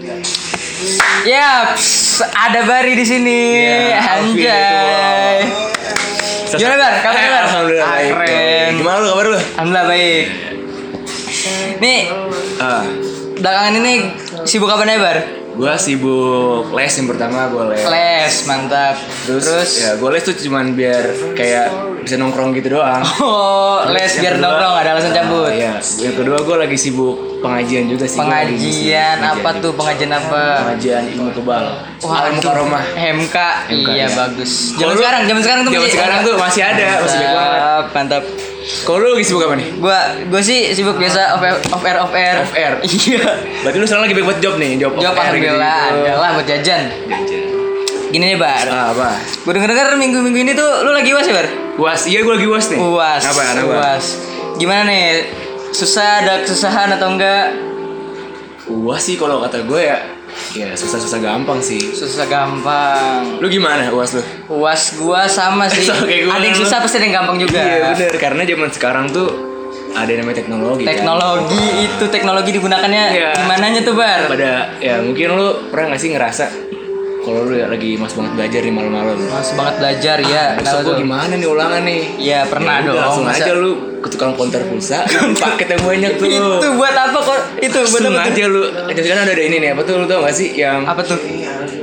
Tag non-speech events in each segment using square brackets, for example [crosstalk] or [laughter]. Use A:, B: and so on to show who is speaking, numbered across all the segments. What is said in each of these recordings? A: Yaps, Ya, ada Bari di sini.
B: Ya, Alfi itu,
A: Anjay. Gimana Bar? Kabar
B: Eh,
A: Bar?
B: Alhamdulillah
A: Ah,
B: baik.
A: Keren.
B: Gimana lu kabar lu?
A: Alhamdulillah baik.
B: Iya,
A: Nih,
B: Ah,
A: belakangan ini sibuk apa nih Bar?
B: gua sibuk les yang pertama gua les.
A: Les, mantap.
B: Terus, ya gua les tuh cuman biar kayak bisa nongkrong gitu doang.
A: Oh, les
B: Yang
A: biar
B: kedua-
A: nongkrong ada alasan cabut.
B: Ah, Iya, yang kedua gua lagi sibuk pengajian juga sih. Gua lagi ngisi
A: Pengajian apa tuh? Pengajian apa?
B: Pengajian ilmu kebal.
A: Wah,
B: iya. ilmu
A: itu
B: karomah.
A: HMK.
B: HMK,
A: Iya,
B: iya.
A: bagus.
B: Kalau
A: Zaman
B: lu-
A: sekarang, zaman sekarang tuh
B: Zaman
A: masih-
B: sekarang tuh masih ada, masih baik banget.
A: Mantap, mantap.
B: Kalau lu lagi sibuk apa nih?
A: Gua gua sih sibuk biasa off air off air off air.
B: Off air.
A: Iya.
B: Berarti lu sekarang lagi baik buat job nih, job
A: Jawab
B: off air
A: alhamdulillah
B: gitu-gitu.
A: adalah buat jajan.
B: Jajan.
A: Gini nih Bar.
B: Ah, apa?
A: Gue denger denger minggu-minggu ini tuh lu lagi uas ya Bar?
B: Uas, iya gua lagi uas nih.
A: Uas.
B: Apa? Apa?
A: Uas. Gimana nih? Susah ada kesusahan atau enggak?
B: Uas sih kalau kata gue ya, ya susah-susah gampang sih.
A: Susah gampang.
B: Lu gimana uas lu?
A: Uas gua sama
B: [laughs]
A: sih.
B: Sama kayak gua.
A: ada yang susah pasti ada yang gampang juga.
B: Iya bener, karena zaman sekarang tuh ada yang namanya teknologi. kan.
A: Teknologi itu teknologi digunakannya
B: Iya.
A: gimananya tuh Bar?
B: Pada ya mungkin lu pernah gak sih ngerasa kalau lu ya lagi mas banget belajar nih malam-malam.
A: Mas banget belajar ya.
B: Ah, Besok gua gimana nih ulangan nih?
A: Iya pernah
B: Ya udah,
A: dong.
B: Langsung
A: masa-
B: aja lu ke tukang konter pulsa,
A: [laughs]
B: lu paket yang banyak tuh.
A: Itu buat apa kok? Itu buat
B: Langsung
A: apa? tuh?
B: aja lu. Jadi kan ada ada ini nih apa tuh lu tau gak sih yang
A: Apa tuh?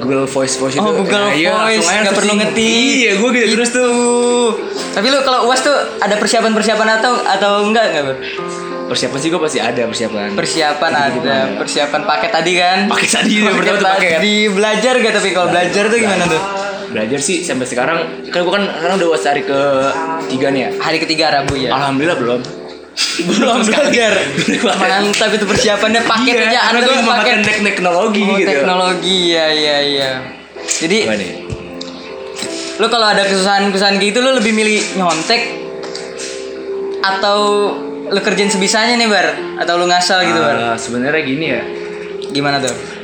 B: Google Voice Voice itu.
A: Oh, Google
B: iya,
A: Voice,
B: langsung aja
A: nggak perlu
B: searching.
A: ngetik.
B: Iya, gua gitu terus tuh.
A: Tapi lu kalau uas tuh ada persiapan-persiapan atau atau enggak enggak Bar?
B: Persiapan sih gua pasti ada persiapan.
A: Persiapan
B: Gitu-gitu
A: ada,
B: ada.
A: persiapan paket tadi kan?
B: ya? Paket tadi ya,
A: Paket
B: pertama tuh paket.
A: tadi. belajar gak tapi kalau belajar tuh gimana tuh?
B: Belajar sih sampai sekarang kan gua kan sekarang udah was hari ke tiga nih ya.
A: Hari ketiga Rabu ya.
B: Alhamdulillah [laughs] belum.
A: belum belajar
B: Makanan
A: mantap itu persiapannya paket aja
B: Iya, karena
A: ada
B: gue
A: paket
B: memakan tek- teknologi
A: Oh,
B: gitu.
A: teknologi ya ya ya
B: Gimana
A: jadi
B: nih?
A: lu kalau ada kesusahan kesusahan gitu lu lebih milih nyontek atau lu kerjain sebisanya nih bar atau lu ngasal gitu bar
B: Ah, sebenarnya gini ya.
A: gimana tuh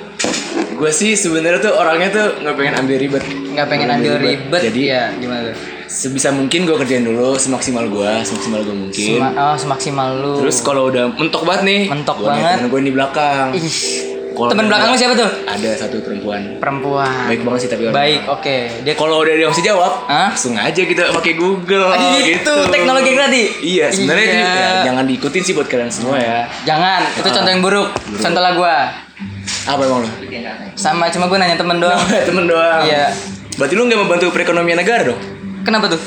B: Gue sih sebenarnya tuh orangnya tuh nggak pengen ambil ribet.
A: nggak pengen ambil ribet
B: Jadi
A: ya gimana tuh
B: sebisa mungkin gue kerjain dulu semaksimal gue, semaksimal gue mungkin.
A: Sema- oh, semaksimal lu
B: Iya. Terus kalau udah mentok banget nih,
A: Mentok
B: gua
A: banget.
B: Gue di belakang.
A: Ih,
B: Kalau
A: temen
B: ada-
A: belakang lu siapa tuh
B: Ada satu perempuan.
A: perempuan
B: Baik banget sih tapi orang.
A: baik oke dia
B: Kalau udah dia masih jawab,
A: Hah?
B: langsung aja kita pakai [laughs] Google. gitu.
A: itu teknologi yang tadi
B: Iya, sebenarnya
A: Iya.
B: itu ya, jangan diikutin sih buat kalian semua ya.
A: Jangan, itu contoh yang buruk. Contoh lah gua.
B: Apa emang lu?
A: Sama cuma gua nanya temen doang.
B: [laughs] Temen doang.
A: Iya.
B: Berarti lu nggak membantu perekonomian negara dong?
A: Kenapa tuh?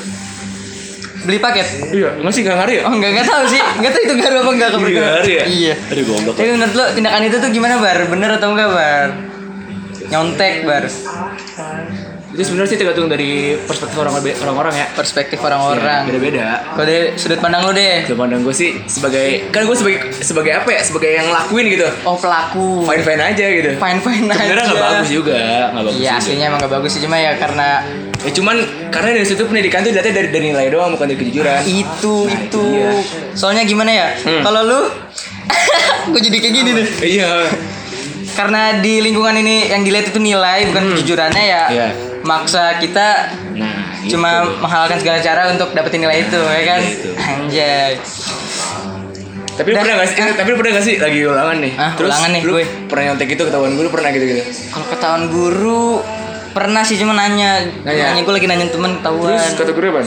A: Beli paket?
B: Iya, nggak sih nggak ngaruh ya?
A: Oh enggak, enggak tahu sih. Enggak tahu itu garu apa enggak
B: Iya,
A: kebetulan.
B: ngaruh ya?
A: Iya.
B: Aduh goblok.
A: Tapi menurut lo tindakan itu tuh gimana, Bar? Bener atau enggak, Bar? Nyontek, Bar.
B: Itu sebenarnya sih tergantung dari perspektif orang orang-orang ya. Iya.
A: Perspektif orang-orang.
B: Beda-beda.
A: Kau dari sudut pandang lo deh.
B: Sudut pandang gue sih sebagai kan gue sebagai sebagai apa ya sebagai yang lakuin gitu
A: Oh, pelaku.
B: fine fine aja gitu
A: Fine-fine aja.
B: sebenarnya nggak bagus juga nggak bagus
A: Iya,
B: juga
A: aslinya emang gak bagus sih cuma ya karena
B: ya, cuman karena dari situ pendidikan tuh dilihatnya dari, dari nilai doang bukan dari kejujuran
A: itu
B: Nah,
A: itu.
B: iya.
A: Soalnya gimana ya?
B: Hmm.
A: Kalau lu [laughs] gue jadi kayak gini deh.
B: iya
A: karena di lingkungan ini yang dilihat itu nilai bukan kejujurannya ya
B: Hmm. Iya.
A: maksa kita
B: nah
A: cuma
B: gitu.
A: menghalalkan segala cara untuk dapetin nilai itu ya kan
B: gitu.
A: anjay
B: tapi lu
A: Dah.
B: pernah gak sih eh, tapi lu pernah gak sih lagi ulangan nih
A: Ah, ulangan nih
B: lu
A: gue.
B: pernah nyontek gitu ketahuan gue lu pernah gitu gitu
A: kalau ketahuan guru pernah sih cuma nanya nanya,
B: Nanya.
A: gue lagi nanya temen ketahuan
B: terus kata guru apa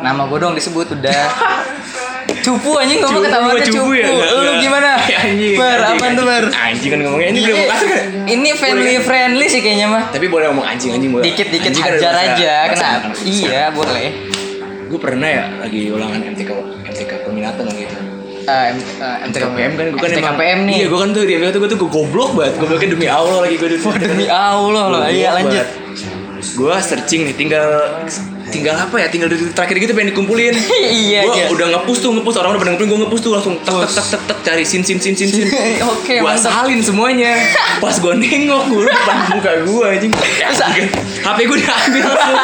A: nama gue dong disebut
B: [laughs]
A: udah cupu anjing gue mau
B: Cupu,
A: ketahuan cupu,
B: cupu ya? Nggak,
A: lu
B: nggak.
A: gimana
B: Ya, [laughs] anjing,
A: bar
B: anjing,
A: apaan tuh bar
B: anjing. anjing kan ngomongnya ini boleh
A: Iya,
B: ngomong kasar kan
A: ini family friendly sih kayaknya mah
B: tapi boleh ngomong anjing anjing boleh
A: dikit dikit
B: Anjing kan ada
A: hajar
B: bahasa-
A: aja
B: bahasa
A: kenapa
B: anak-anak.
A: iya boleh
B: gue pernah ya lagi ulangan MTK MTK peminatan gitu
A: Eh, M- eh,
B: MTKPM kan gue kan emang-
A: MTKPM nih
B: iya gue kan tuh di MTK tuh gue tuh gue goblok banget gobloknya demi Allah lagi gue demi
A: [laughs] Demi Allah loh, iya lanjut.
B: gue searching nih tinggal tinggal apa ya tinggal detik terakhir gitu pengen dikumpulin
A: [laughs] Iya,
B: gue
A: iya.
B: udah ngepush tuh ngepush orang udah pada ngumpulin gue ngepush tuh langsung tek tek tek tek, tek, cari sin sin sin sin sin
A: [laughs] Oke,
B: gue
A: mantap.
B: salin semuanya pas gue nengok gue depan muka gue
A: [laughs]
B: anjing HP gue diambil langsung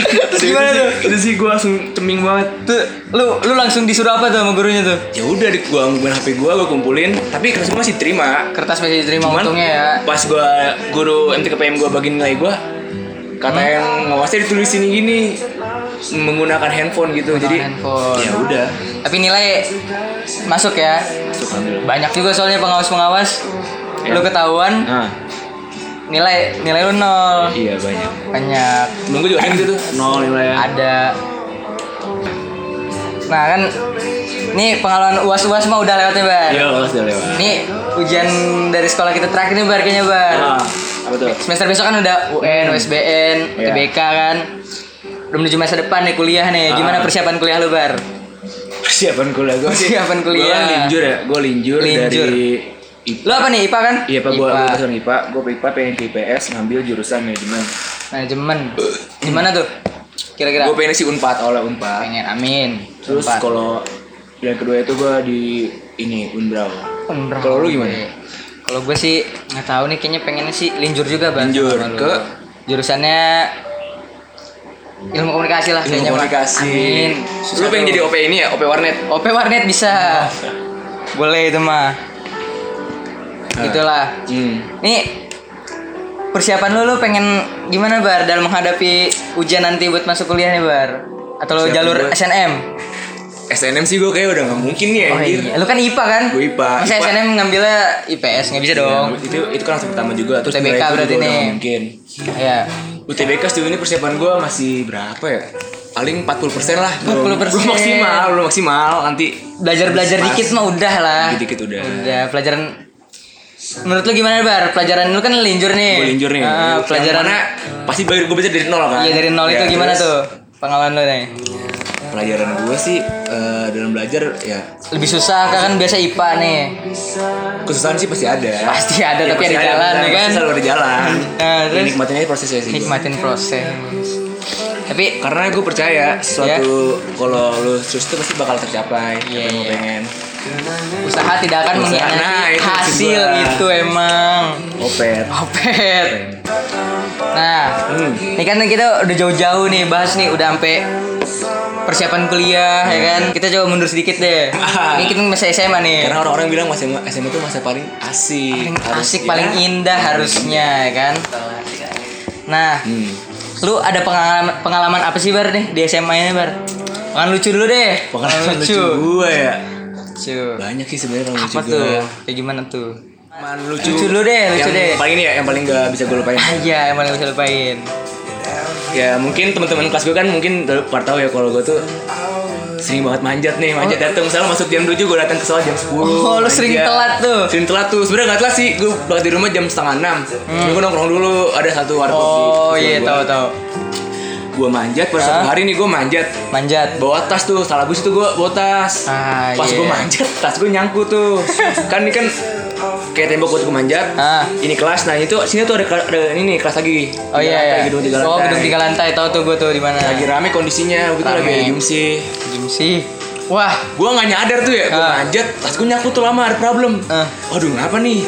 A: Terus gimana
B: Itu sih-
A: tuh?
B: itu sih gue langsung ceming banget
A: Tuh, lu lu langsung disuruh apa tuh sama gurunya tuh?
B: ya udah di- gua ambil HP gua gua kumpulin tapi kertas gua masih terima
A: Kertas masih diterima
B: Cuman,
A: untungnya ya.
B: pas gua guru MTKPM gua bagi nilai gua kata yang ngawasnya ditulisin gini menggunakan handphone gitu jadi
A: handphone.
B: ya udah
A: Tapi nilai masuk ya.
B: masuk ambil
A: Banyak juga soalnya pengawas-pengawas.
B: Iya.
A: Lu ketahuan,
B: nah
A: nilai nilai lu nol
B: Iya banyak.
A: banyak
B: Nunggu juga kan gitu tuh nol nilai.
A: ada nah kan ini pengalaman uas uas mah udah lewat ya bar
B: Iya lolos udah lewat.
A: ini ujian dari sekolah kita terakhir nih bar kayaknya bar
B: Ah, apa tuh?
A: semester besok kan udah UN USBN
B: Iya.
A: UTBK kan udah menuju masa depan nih kuliah nih gimana
B: Ah.
A: persiapan kuliah lu bar
B: Persiapan kuliah gue.
A: Persiapan kuliah.
B: Gue kan linjur ya. Gue linjur,
A: Linjur.
B: dari IPA.
A: lu apa nih IPA kan
B: Iya pak, gue
A: IPA.
B: jurusan IPA, gue IPA pengen ke IPS ngambil jurusan manajemen.
A: manajemen gimana tuh kira-kira
B: Gue pengen sih unpad, oleh unpad.
A: pengen amin
B: Terus
A: Empat.
B: kalau pilihan kedua itu gue di ini unbrau.
A: Umrah.
B: Kalau lu gimana?
A: Kalau gue sih nggak tahu nih, kayaknya pengennya sih linjur juga bang.
B: Linjur,
A: Sama lu.
B: ke-
A: jurusannya ilmu komunikasi lah
B: Ilmu
A: kayaknya Bang.
B: komunikasi.
A: Amin.
B: Lu pengen jadi OP ini ya, OP warnet.
A: OP warnet bisa. Boleh itu mah.
B: Ah.
A: Itulah.
B: Hmm.
A: Nih persiapan lu lu pengen gimana bar dalam menghadapi ujian nanti buat masuk kuliah nih bar? Atau lu
B: Persiapan
A: jalur
B: gua-
A: SNM?
B: SNM sih gue kayak udah nggak mungkin nih
A: Oh
B: anjir.
A: iya. Lu kan IPA kan?
B: Gua IPA.
A: Masa
B: IPA.
A: SNM ngambilnya IPS nggak bisa dong.
B: Iya, itu itu kan langsung pertama juga terus
A: UTBK
B: nilai itu
A: berarti
B: juga udah
A: nih.
B: nggak mungkin
A: Iya.
B: UTBK sejauh ini persiapan gue masih berapa ya paling 40% lah
A: 40%.
B: belum maksimal belum maksimal nanti
A: belajar-belajar
B: Pas.
A: dikit mah udah lah. Hmm.
B: Dikit-dikit udah.
A: Udah pelajaran Menurut lu gimana Bar? Pelajaran lu kan linjur nih.
B: gue linjur nih
A: Ah,
B: Yang
A: pelajaran
B: mana pasti belajar gue belajar dari nol kan
A: Iya dari nol
B: Ya,
A: itu gimana
B: terus
A: tuh? Pengalaman lu nih.
B: pelajaran gue sih eh, dalam belajar ya
A: Lebih susah kan, kan biasa IPA nih.
B: kesusahan sih pasti ada Iya,
A: Pasti ada, tapi
B: pasti
A: ada jalan, ya
B: pasti
A: kan?
B: selalu ada jalan
A: Nah, terus?
B: nikmatinnya prosesnya ya, sih gua.
A: Nikmatin proses. Tapi
B: karena gue percaya
A: Ya.
B: suatu kalau lu terus itu pasti bakal tercapai
A: Iya,
B: apa yang lu
A: iya.
B: pengen
A: usaha tidak akan
B: Usaha,
A: mengkhianati
B: nah, itu maksud
A: hasil
B: gua.
A: itu emang.
B: opet
A: Opet. Nah,
B: hmm.
A: Ini kan kita udah jauh-jauh nih bahas nih udah sampai persiapan kuliah ya kan. Kita coba mundur sedikit
B: [laughs]
A: deh. Ini kita masih SMA nih.
B: Karena orang-orang bilang masa SMA itu masa paling asik,
A: Paling
B: harus-
A: asik,
B: ya.
A: paling indah harusnya ya kan. Nah,
B: Hmm.
A: lu ada pengalaman pengalaman apa sih Bar nih di SMA ini Bar? Pengalaman lucu dulu deh.
B: Pengalaman lucu gue ya.
A: Lucu.
B: Banyak sih sebenarnya pengalaman lucu
A: Apa
B: gue.
A: tuh? Kayak gimana tuh?
B: Pengalaman lucu.
A: Lucu dulu deh, lucu
B: yang
A: deh.
B: Paling ini ya, yang paling gak bisa gue lupain.
A: Ah iya, emang bisa lupain.
B: ya mungkin teman-teman kelas gue kan mungkin udah pada tahu ya kalau gue tuh sering banget manjat nih manjat datang misalnya masuk jam 7 gue datang ke sekolah jam 10
A: Oh, lu sering
B: manjat. Oh,
A: telat tuh.
B: sering telat tuh sebenarnya gak telat sih gue banget di rumah jam setengah enam Cuma gue nongkrong dulu ada satu warkop
A: Hmm. Oh
B: di
A: iya, tahu tahu.
B: gue manjat pada satu
A: Hah?
B: hari nih gue manjat
A: Manjat.
B: bawa tas tuh salah gue situ gue bawa tas
A: Ah,
B: pas
A: iya.
B: gue manjat tas gue nyangkut tuh kan ini kan kayak tembok gue manjat
A: Ah.
B: ini kelas nah itu sini tuh ada, kela- ada ini nih kelas lagi
A: Oh
B: Tiga lantai,
A: iya, iya.
B: gedung tiga
A: Oh,
B: lantai.
A: gedung tiga lantai. Tahu tuh gue tuh di mana.
B: lagi rame kondisinya waktu itu
A: Rame.
B: lagi ada gimsi
A: Gym sih. Wah,
B: gue nggak nyadar tuh ya gue
A: Ah.
B: manjat tas gue nyangkut tuh lama ada problem
A: Ah.
B: waduh ngapa nih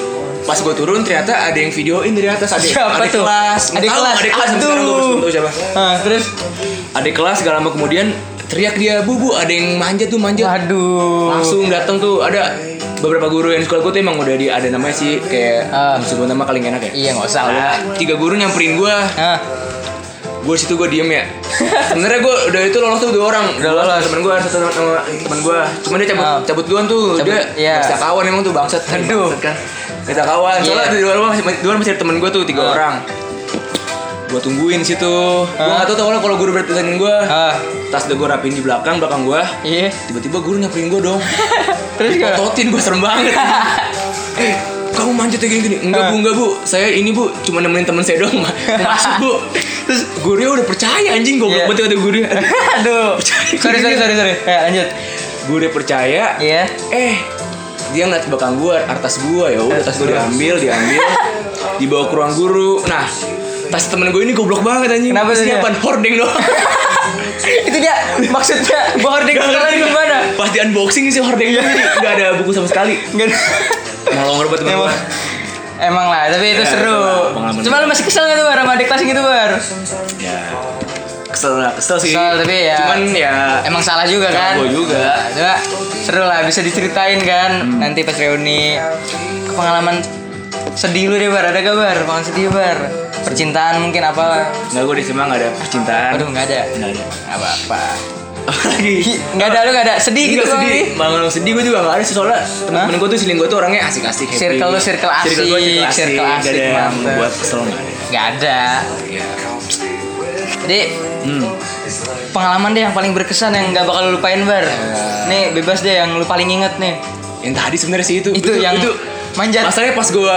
B: pas gue turun ternyata ada yang videoin dari atas ada
A: Siapa
B: ada
A: tuh?
B: kelas
A: Ada
B: Nggak tahu,
A: kelas.
B: ada kelas sampai
A: Aduh.
B: sekarang gue belum tahu siapa
A: ah, terus
B: ada kelas gak lama kemudian teriak dia bu bu ada yang manjat tuh manjat
A: waduh.
B: langsung datang tuh ada beberapa guru yang di sekolah gue tuh emang udah di ada namanya sih kayak
A: Ah.
B: maksud gue nama kali nggak enak ya
A: Iya, nggak usah lah.
B: Nah, tiga guru nyamperin gue
A: Ah,
B: gue situ gue diem ya sebenarnya gue udah itu lolos tuh dua orang udah
A: lolos.
B: temen gue satu temen sama temen gue cuman dia cabut
A: Ah.
B: cabut duluan tuh
A: Cabut,
B: dia
A: iya.
B: kita kawan emang tuh bangsat kan
A: Aduh.
B: bangsat kan kita kawan soalnya
A: Iya.
B: di luar masih di luar masih ada temen gue tuh tiga
A: Ah.
B: orang gue tungguin situ gue
A: Ah.
B: nggak tahu tuh awalnya kalau guru berat pesanin gue
A: ah,
B: tas udah gue rapiin di belakang belakang gue
A: iya.
B: tiba-tiba guru nyamperin gue dong
A: Terus gimana?
B: Ototin gue
A: [laughs]
B: serem banget Eh kamu manjat ya gini-gini Enggak bu, enggak bu Saya ini bu Cuma nemenin temen saya doang Ma. Mau Masuk bu Terus gurunya udah percaya anjing Goblok
A: Iya.
B: banget kata gurunya [laughs]
A: Aduh. Sorry, sorry, sorry, sorry. Ya, lanjut.
B: Gurunya percaya
A: Iya.
B: Eh dia ngeliat ke belakang gue, atas gue ya udah tas gue diambil, diambil, dibawa ke ruang guru. Nah, tas temen gue ini goblok banget anjing.
A: Kenapa tuh
B: Isinya
A: dia?
B: apaan? Hordeng doang.
A: [laughs] itu dia maksudnya boarding
B: Gak
A: sekolah
B: ngerti gua.
A: gimana?
B: Pas di unboxing sih hordeng doang, jadi nggak ada buku sama sekali.
A: Nggak ada.
B: Malah ngerubah temen
A: Emang
B: gue.
A: Emang lah, tapi itu
B: Ya,
A: seru.
B: itulah pengalaman
A: Cuma lu masih kesel gak tuh Bar sama adik kelas gitu Bar?
B: ya kesel lah kesel sih
A: Kesel, tapi ya-
B: cuman ya
A: Emang salah juga
B: Salah
A: kan?
B: gua juga.
A: Cuma seru lah, bisa diceritain kan nanti pas reuni. Pengalaman sedih lu deh Bar, ada gak Bar? Pengalaman sedih Bar? Percintaan mungkin apalah.
B: nggak gue di SMA nggak ada percintaan
A: Aduh nggak ada.
B: nggak ada
A: Nggak apa-apa.
B: lagi
A: Nggak ada lu nggak ada sedih gitu
B: Enggak
A: Bang,
B: sedih,
A: Ri?
B: malah nggak sedih gue juga nggak ada sih soalnya temen
A: Hah?
B: gue tuh selingkuh tuh orangnya asik-asik happy.
A: Circle lu circle
B: Circle gue
A: asik, circle
B: Nggak
A: asik,
B: ada yang
A: mantep.
B: buat kesel nggak ada.
A: Nggak ada. Iya.
B: Ya.
A: Jadi
B: Hmm.
A: pengalaman deh yang paling berkesan yang nggak bakal lu lupain bar. Nih bebas deh yang lu paling inget nih.
B: Yang tadi sebenarnya sih itu
A: Itu yang manjat.
B: Masalahnya pas gue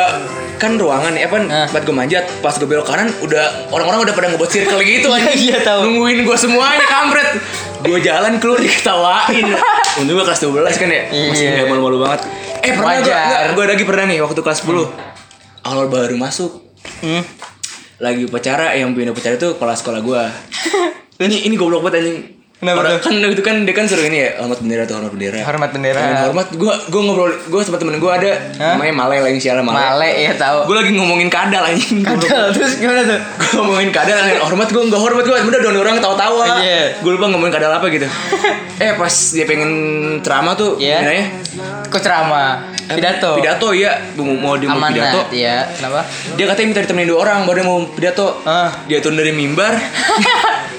B: kan ruangan ya kan
A: Hah.
B: buat gue manjat pas gue belok kanan udah orang-orang udah pada ngebuat circle gitu aja
A: [laughs] Iya, tahu.
B: nungguin gue semuanya kampret gue jalan
A: [laughs]
B: keluar diketawain untung gue kelas 12 kan ya masih
A: Iya.
B: nggak malu-malu banget eh pernah
A: Wajar.
B: gue gue lagi pernah nih waktu kelas 10 awal baru masuk
A: Hmm.
B: lagi upacara yang punya upacara itu kepala sekolah gua
A: [laughs]
B: ini ini goblok banget anjing
A: Kenapa
B: Orang-
A: tuh?
B: kan itu kan dia kan suruh ini ya hormat bendera atau hormat bendera
A: Iya, Hormat bendera.
B: Hormat- hormat gua gua ngobrol gua sama temen gua ada
A: Hah?
B: namanya Male lagi siaran Male,
A: Male ya tahu.
B: gua lagi ngomongin kadal anjing
A: Kadal terus gimana tuh?
B: gue ngomongin kadal yang hormat gue nggak hormat gue sebenernya doang orang tawa-tawa
A: Iya.
B: gue lupa ngomongin kadal apa
A: [laughs]
B: gitu eh pas dia pengen ceramah tuh
A: Iya.
B: bilangnya,
A: Kok ceramah?
B: eh,
A: Pidato.
B: pidato iya mau mau dia mau
A: Amanat
B: pidato
A: ya. Kenapa?
B: dia katanya minta ditemenin dua orang baru dia mau pidato
A: Ah.
B: dia turun dari mimbar [laughs]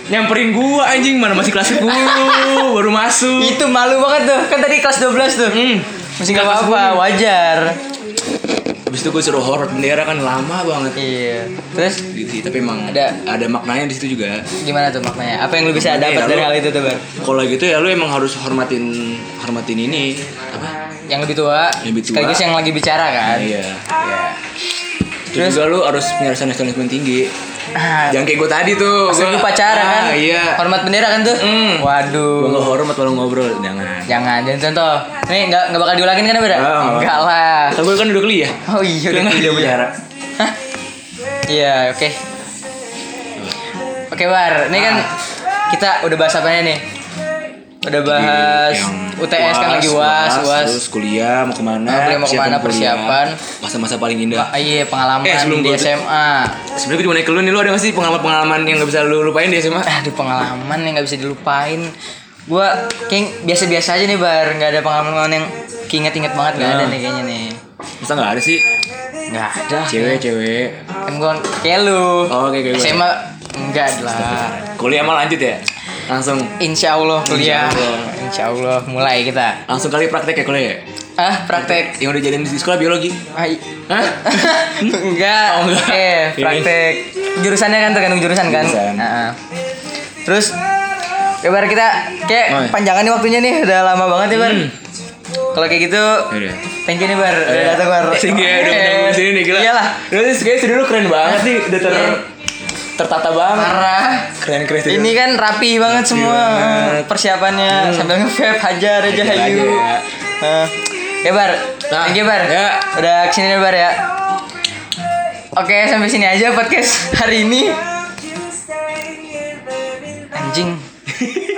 B: nyamperin gua anjing mana masih kelas
A: [laughs]
B: 10 baru masuk
A: Itu malu banget tuh. Kan tadi kelas 12 tuh.
B: Hmm.
A: Mesti nggak apa-apa, wajar.
B: Habis itu gua suruh hormat bendera kan lama banget
A: Iya. Terus
B: gitu sih, tapi emang
A: Ada.
B: ada maknanya di situ juga
A: gimana tuh maknanya? Apa yang lu bisa
B: Maknanya
A: dapat
B: ya,
A: dari
B: lu-
A: hal itu tuh, Bar?
B: kalau gitu ya lu emang harus hormatin hormatin ini apa
A: Yang lebih tua,
B: Yang lebih tua.
A: sekaligus yang lagi bicara kan.
B: iya iya
A: Terus?
B: terus juga lu harus punya rasa nasionalisme tinggi
A: Ah,
B: jangan kayak gua tadi tuh
A: Pas
B: Gua
A: lu pacaran
B: ah,
A: kan?
B: iya
A: Hormat bendera kan tuh?
B: Hmm.
A: Waduh.
B: gua nggak hormat kalau ngobrol jangan
A: Jangan, jangan contoh. Nih nggak nggak bakal diulangin kan, Bar?
B: Ah, nggak
A: Enggak
B: bakal.
A: lah.
B: kan gua kan udah kuliah
A: Oh iya, udah
B: Kuliah
A: kuliah.
B: penjara.
A: Hah? Iya, oke. Oke, Bar. Ini kan
B: Ah.
A: kita udah bahas apanya nih? Udah bahas
B: Iya, Yang
A: UTS kan lagi UAS, UAS.
B: terus kuliah mau kemana
A: Ah, kuliah mau
B: persiapan
A: kemana,
B: kuliah.
A: persiapan.
B: masa-masa paling indah
A: Ah, iya, pengalaman
B: ya. Eh, sebelum
A: di
B: gua-
A: SMA.
B: sebenarnya gue cuma naik ke lu nih lu ada gak sih pengalaman-pengalaman yang gak bisa lu lupain di SMA
A: Aduh, pengalaman yang nggak bisa dilupain. Gua kayak biasa-biasa aja nih, Bar. Nggak ada pengalaman yang keinget-inget banget nggak ada
B: Nah.
A: nih kayaknya nih.
B: masa gak ada sih
A: Nggak ada.
B: cewek-cewek
A: Kan gua kayak lu.
B: Oh, oke, kayak gua.
A: SMA enggak lah.
B: kuliah mah lanjut ya langsung
A: Insya Allah kuliah.
B: Insya Allah.
A: Insya Allah mulai kita.
B: langsung kali praktek ya kuliah ya?
A: Ah praktek.
B: yang udah jadiin di sekolah biologi
A: Hai.
B: Hah?
A: enggak.
B: Oh, enggak.
A: Eh praktek. Jurusannya kan tergantung jurusan kan.
B: Jurusan.
A: Ah, ah. Terus kabar kita kayak
B: Oh, iya.
A: panjangan nih waktunya nih udah lama banget ya bar.
B: Hmm.
A: Kalau kayak gitu,
B: Yaudah.
A: thank you nih bar. Udah datang bar.
B: Sehingga ya, Iya. udah undang gue sini nih gila
A: Iyalah.
B: Terus kayaknya studio lu keren banget nih Udah ter
A: Iya.
B: tertata banget
A: Parah.
B: Keren-keren studio
A: Ini
B: lu.
A: kan rapi banget semua
B: banget. Hmm.
A: persiapannya sambil nge-vape hajar aja
B: Hajar
A: hayu.
B: aja.
A: Nah, ya Bar.
B: Eh. Nah,
A: Thank you Bar.
B: ya.
A: Udah kesini nih, Bar ya. Oke, sampai sini aja podcast hari ini. Anjing.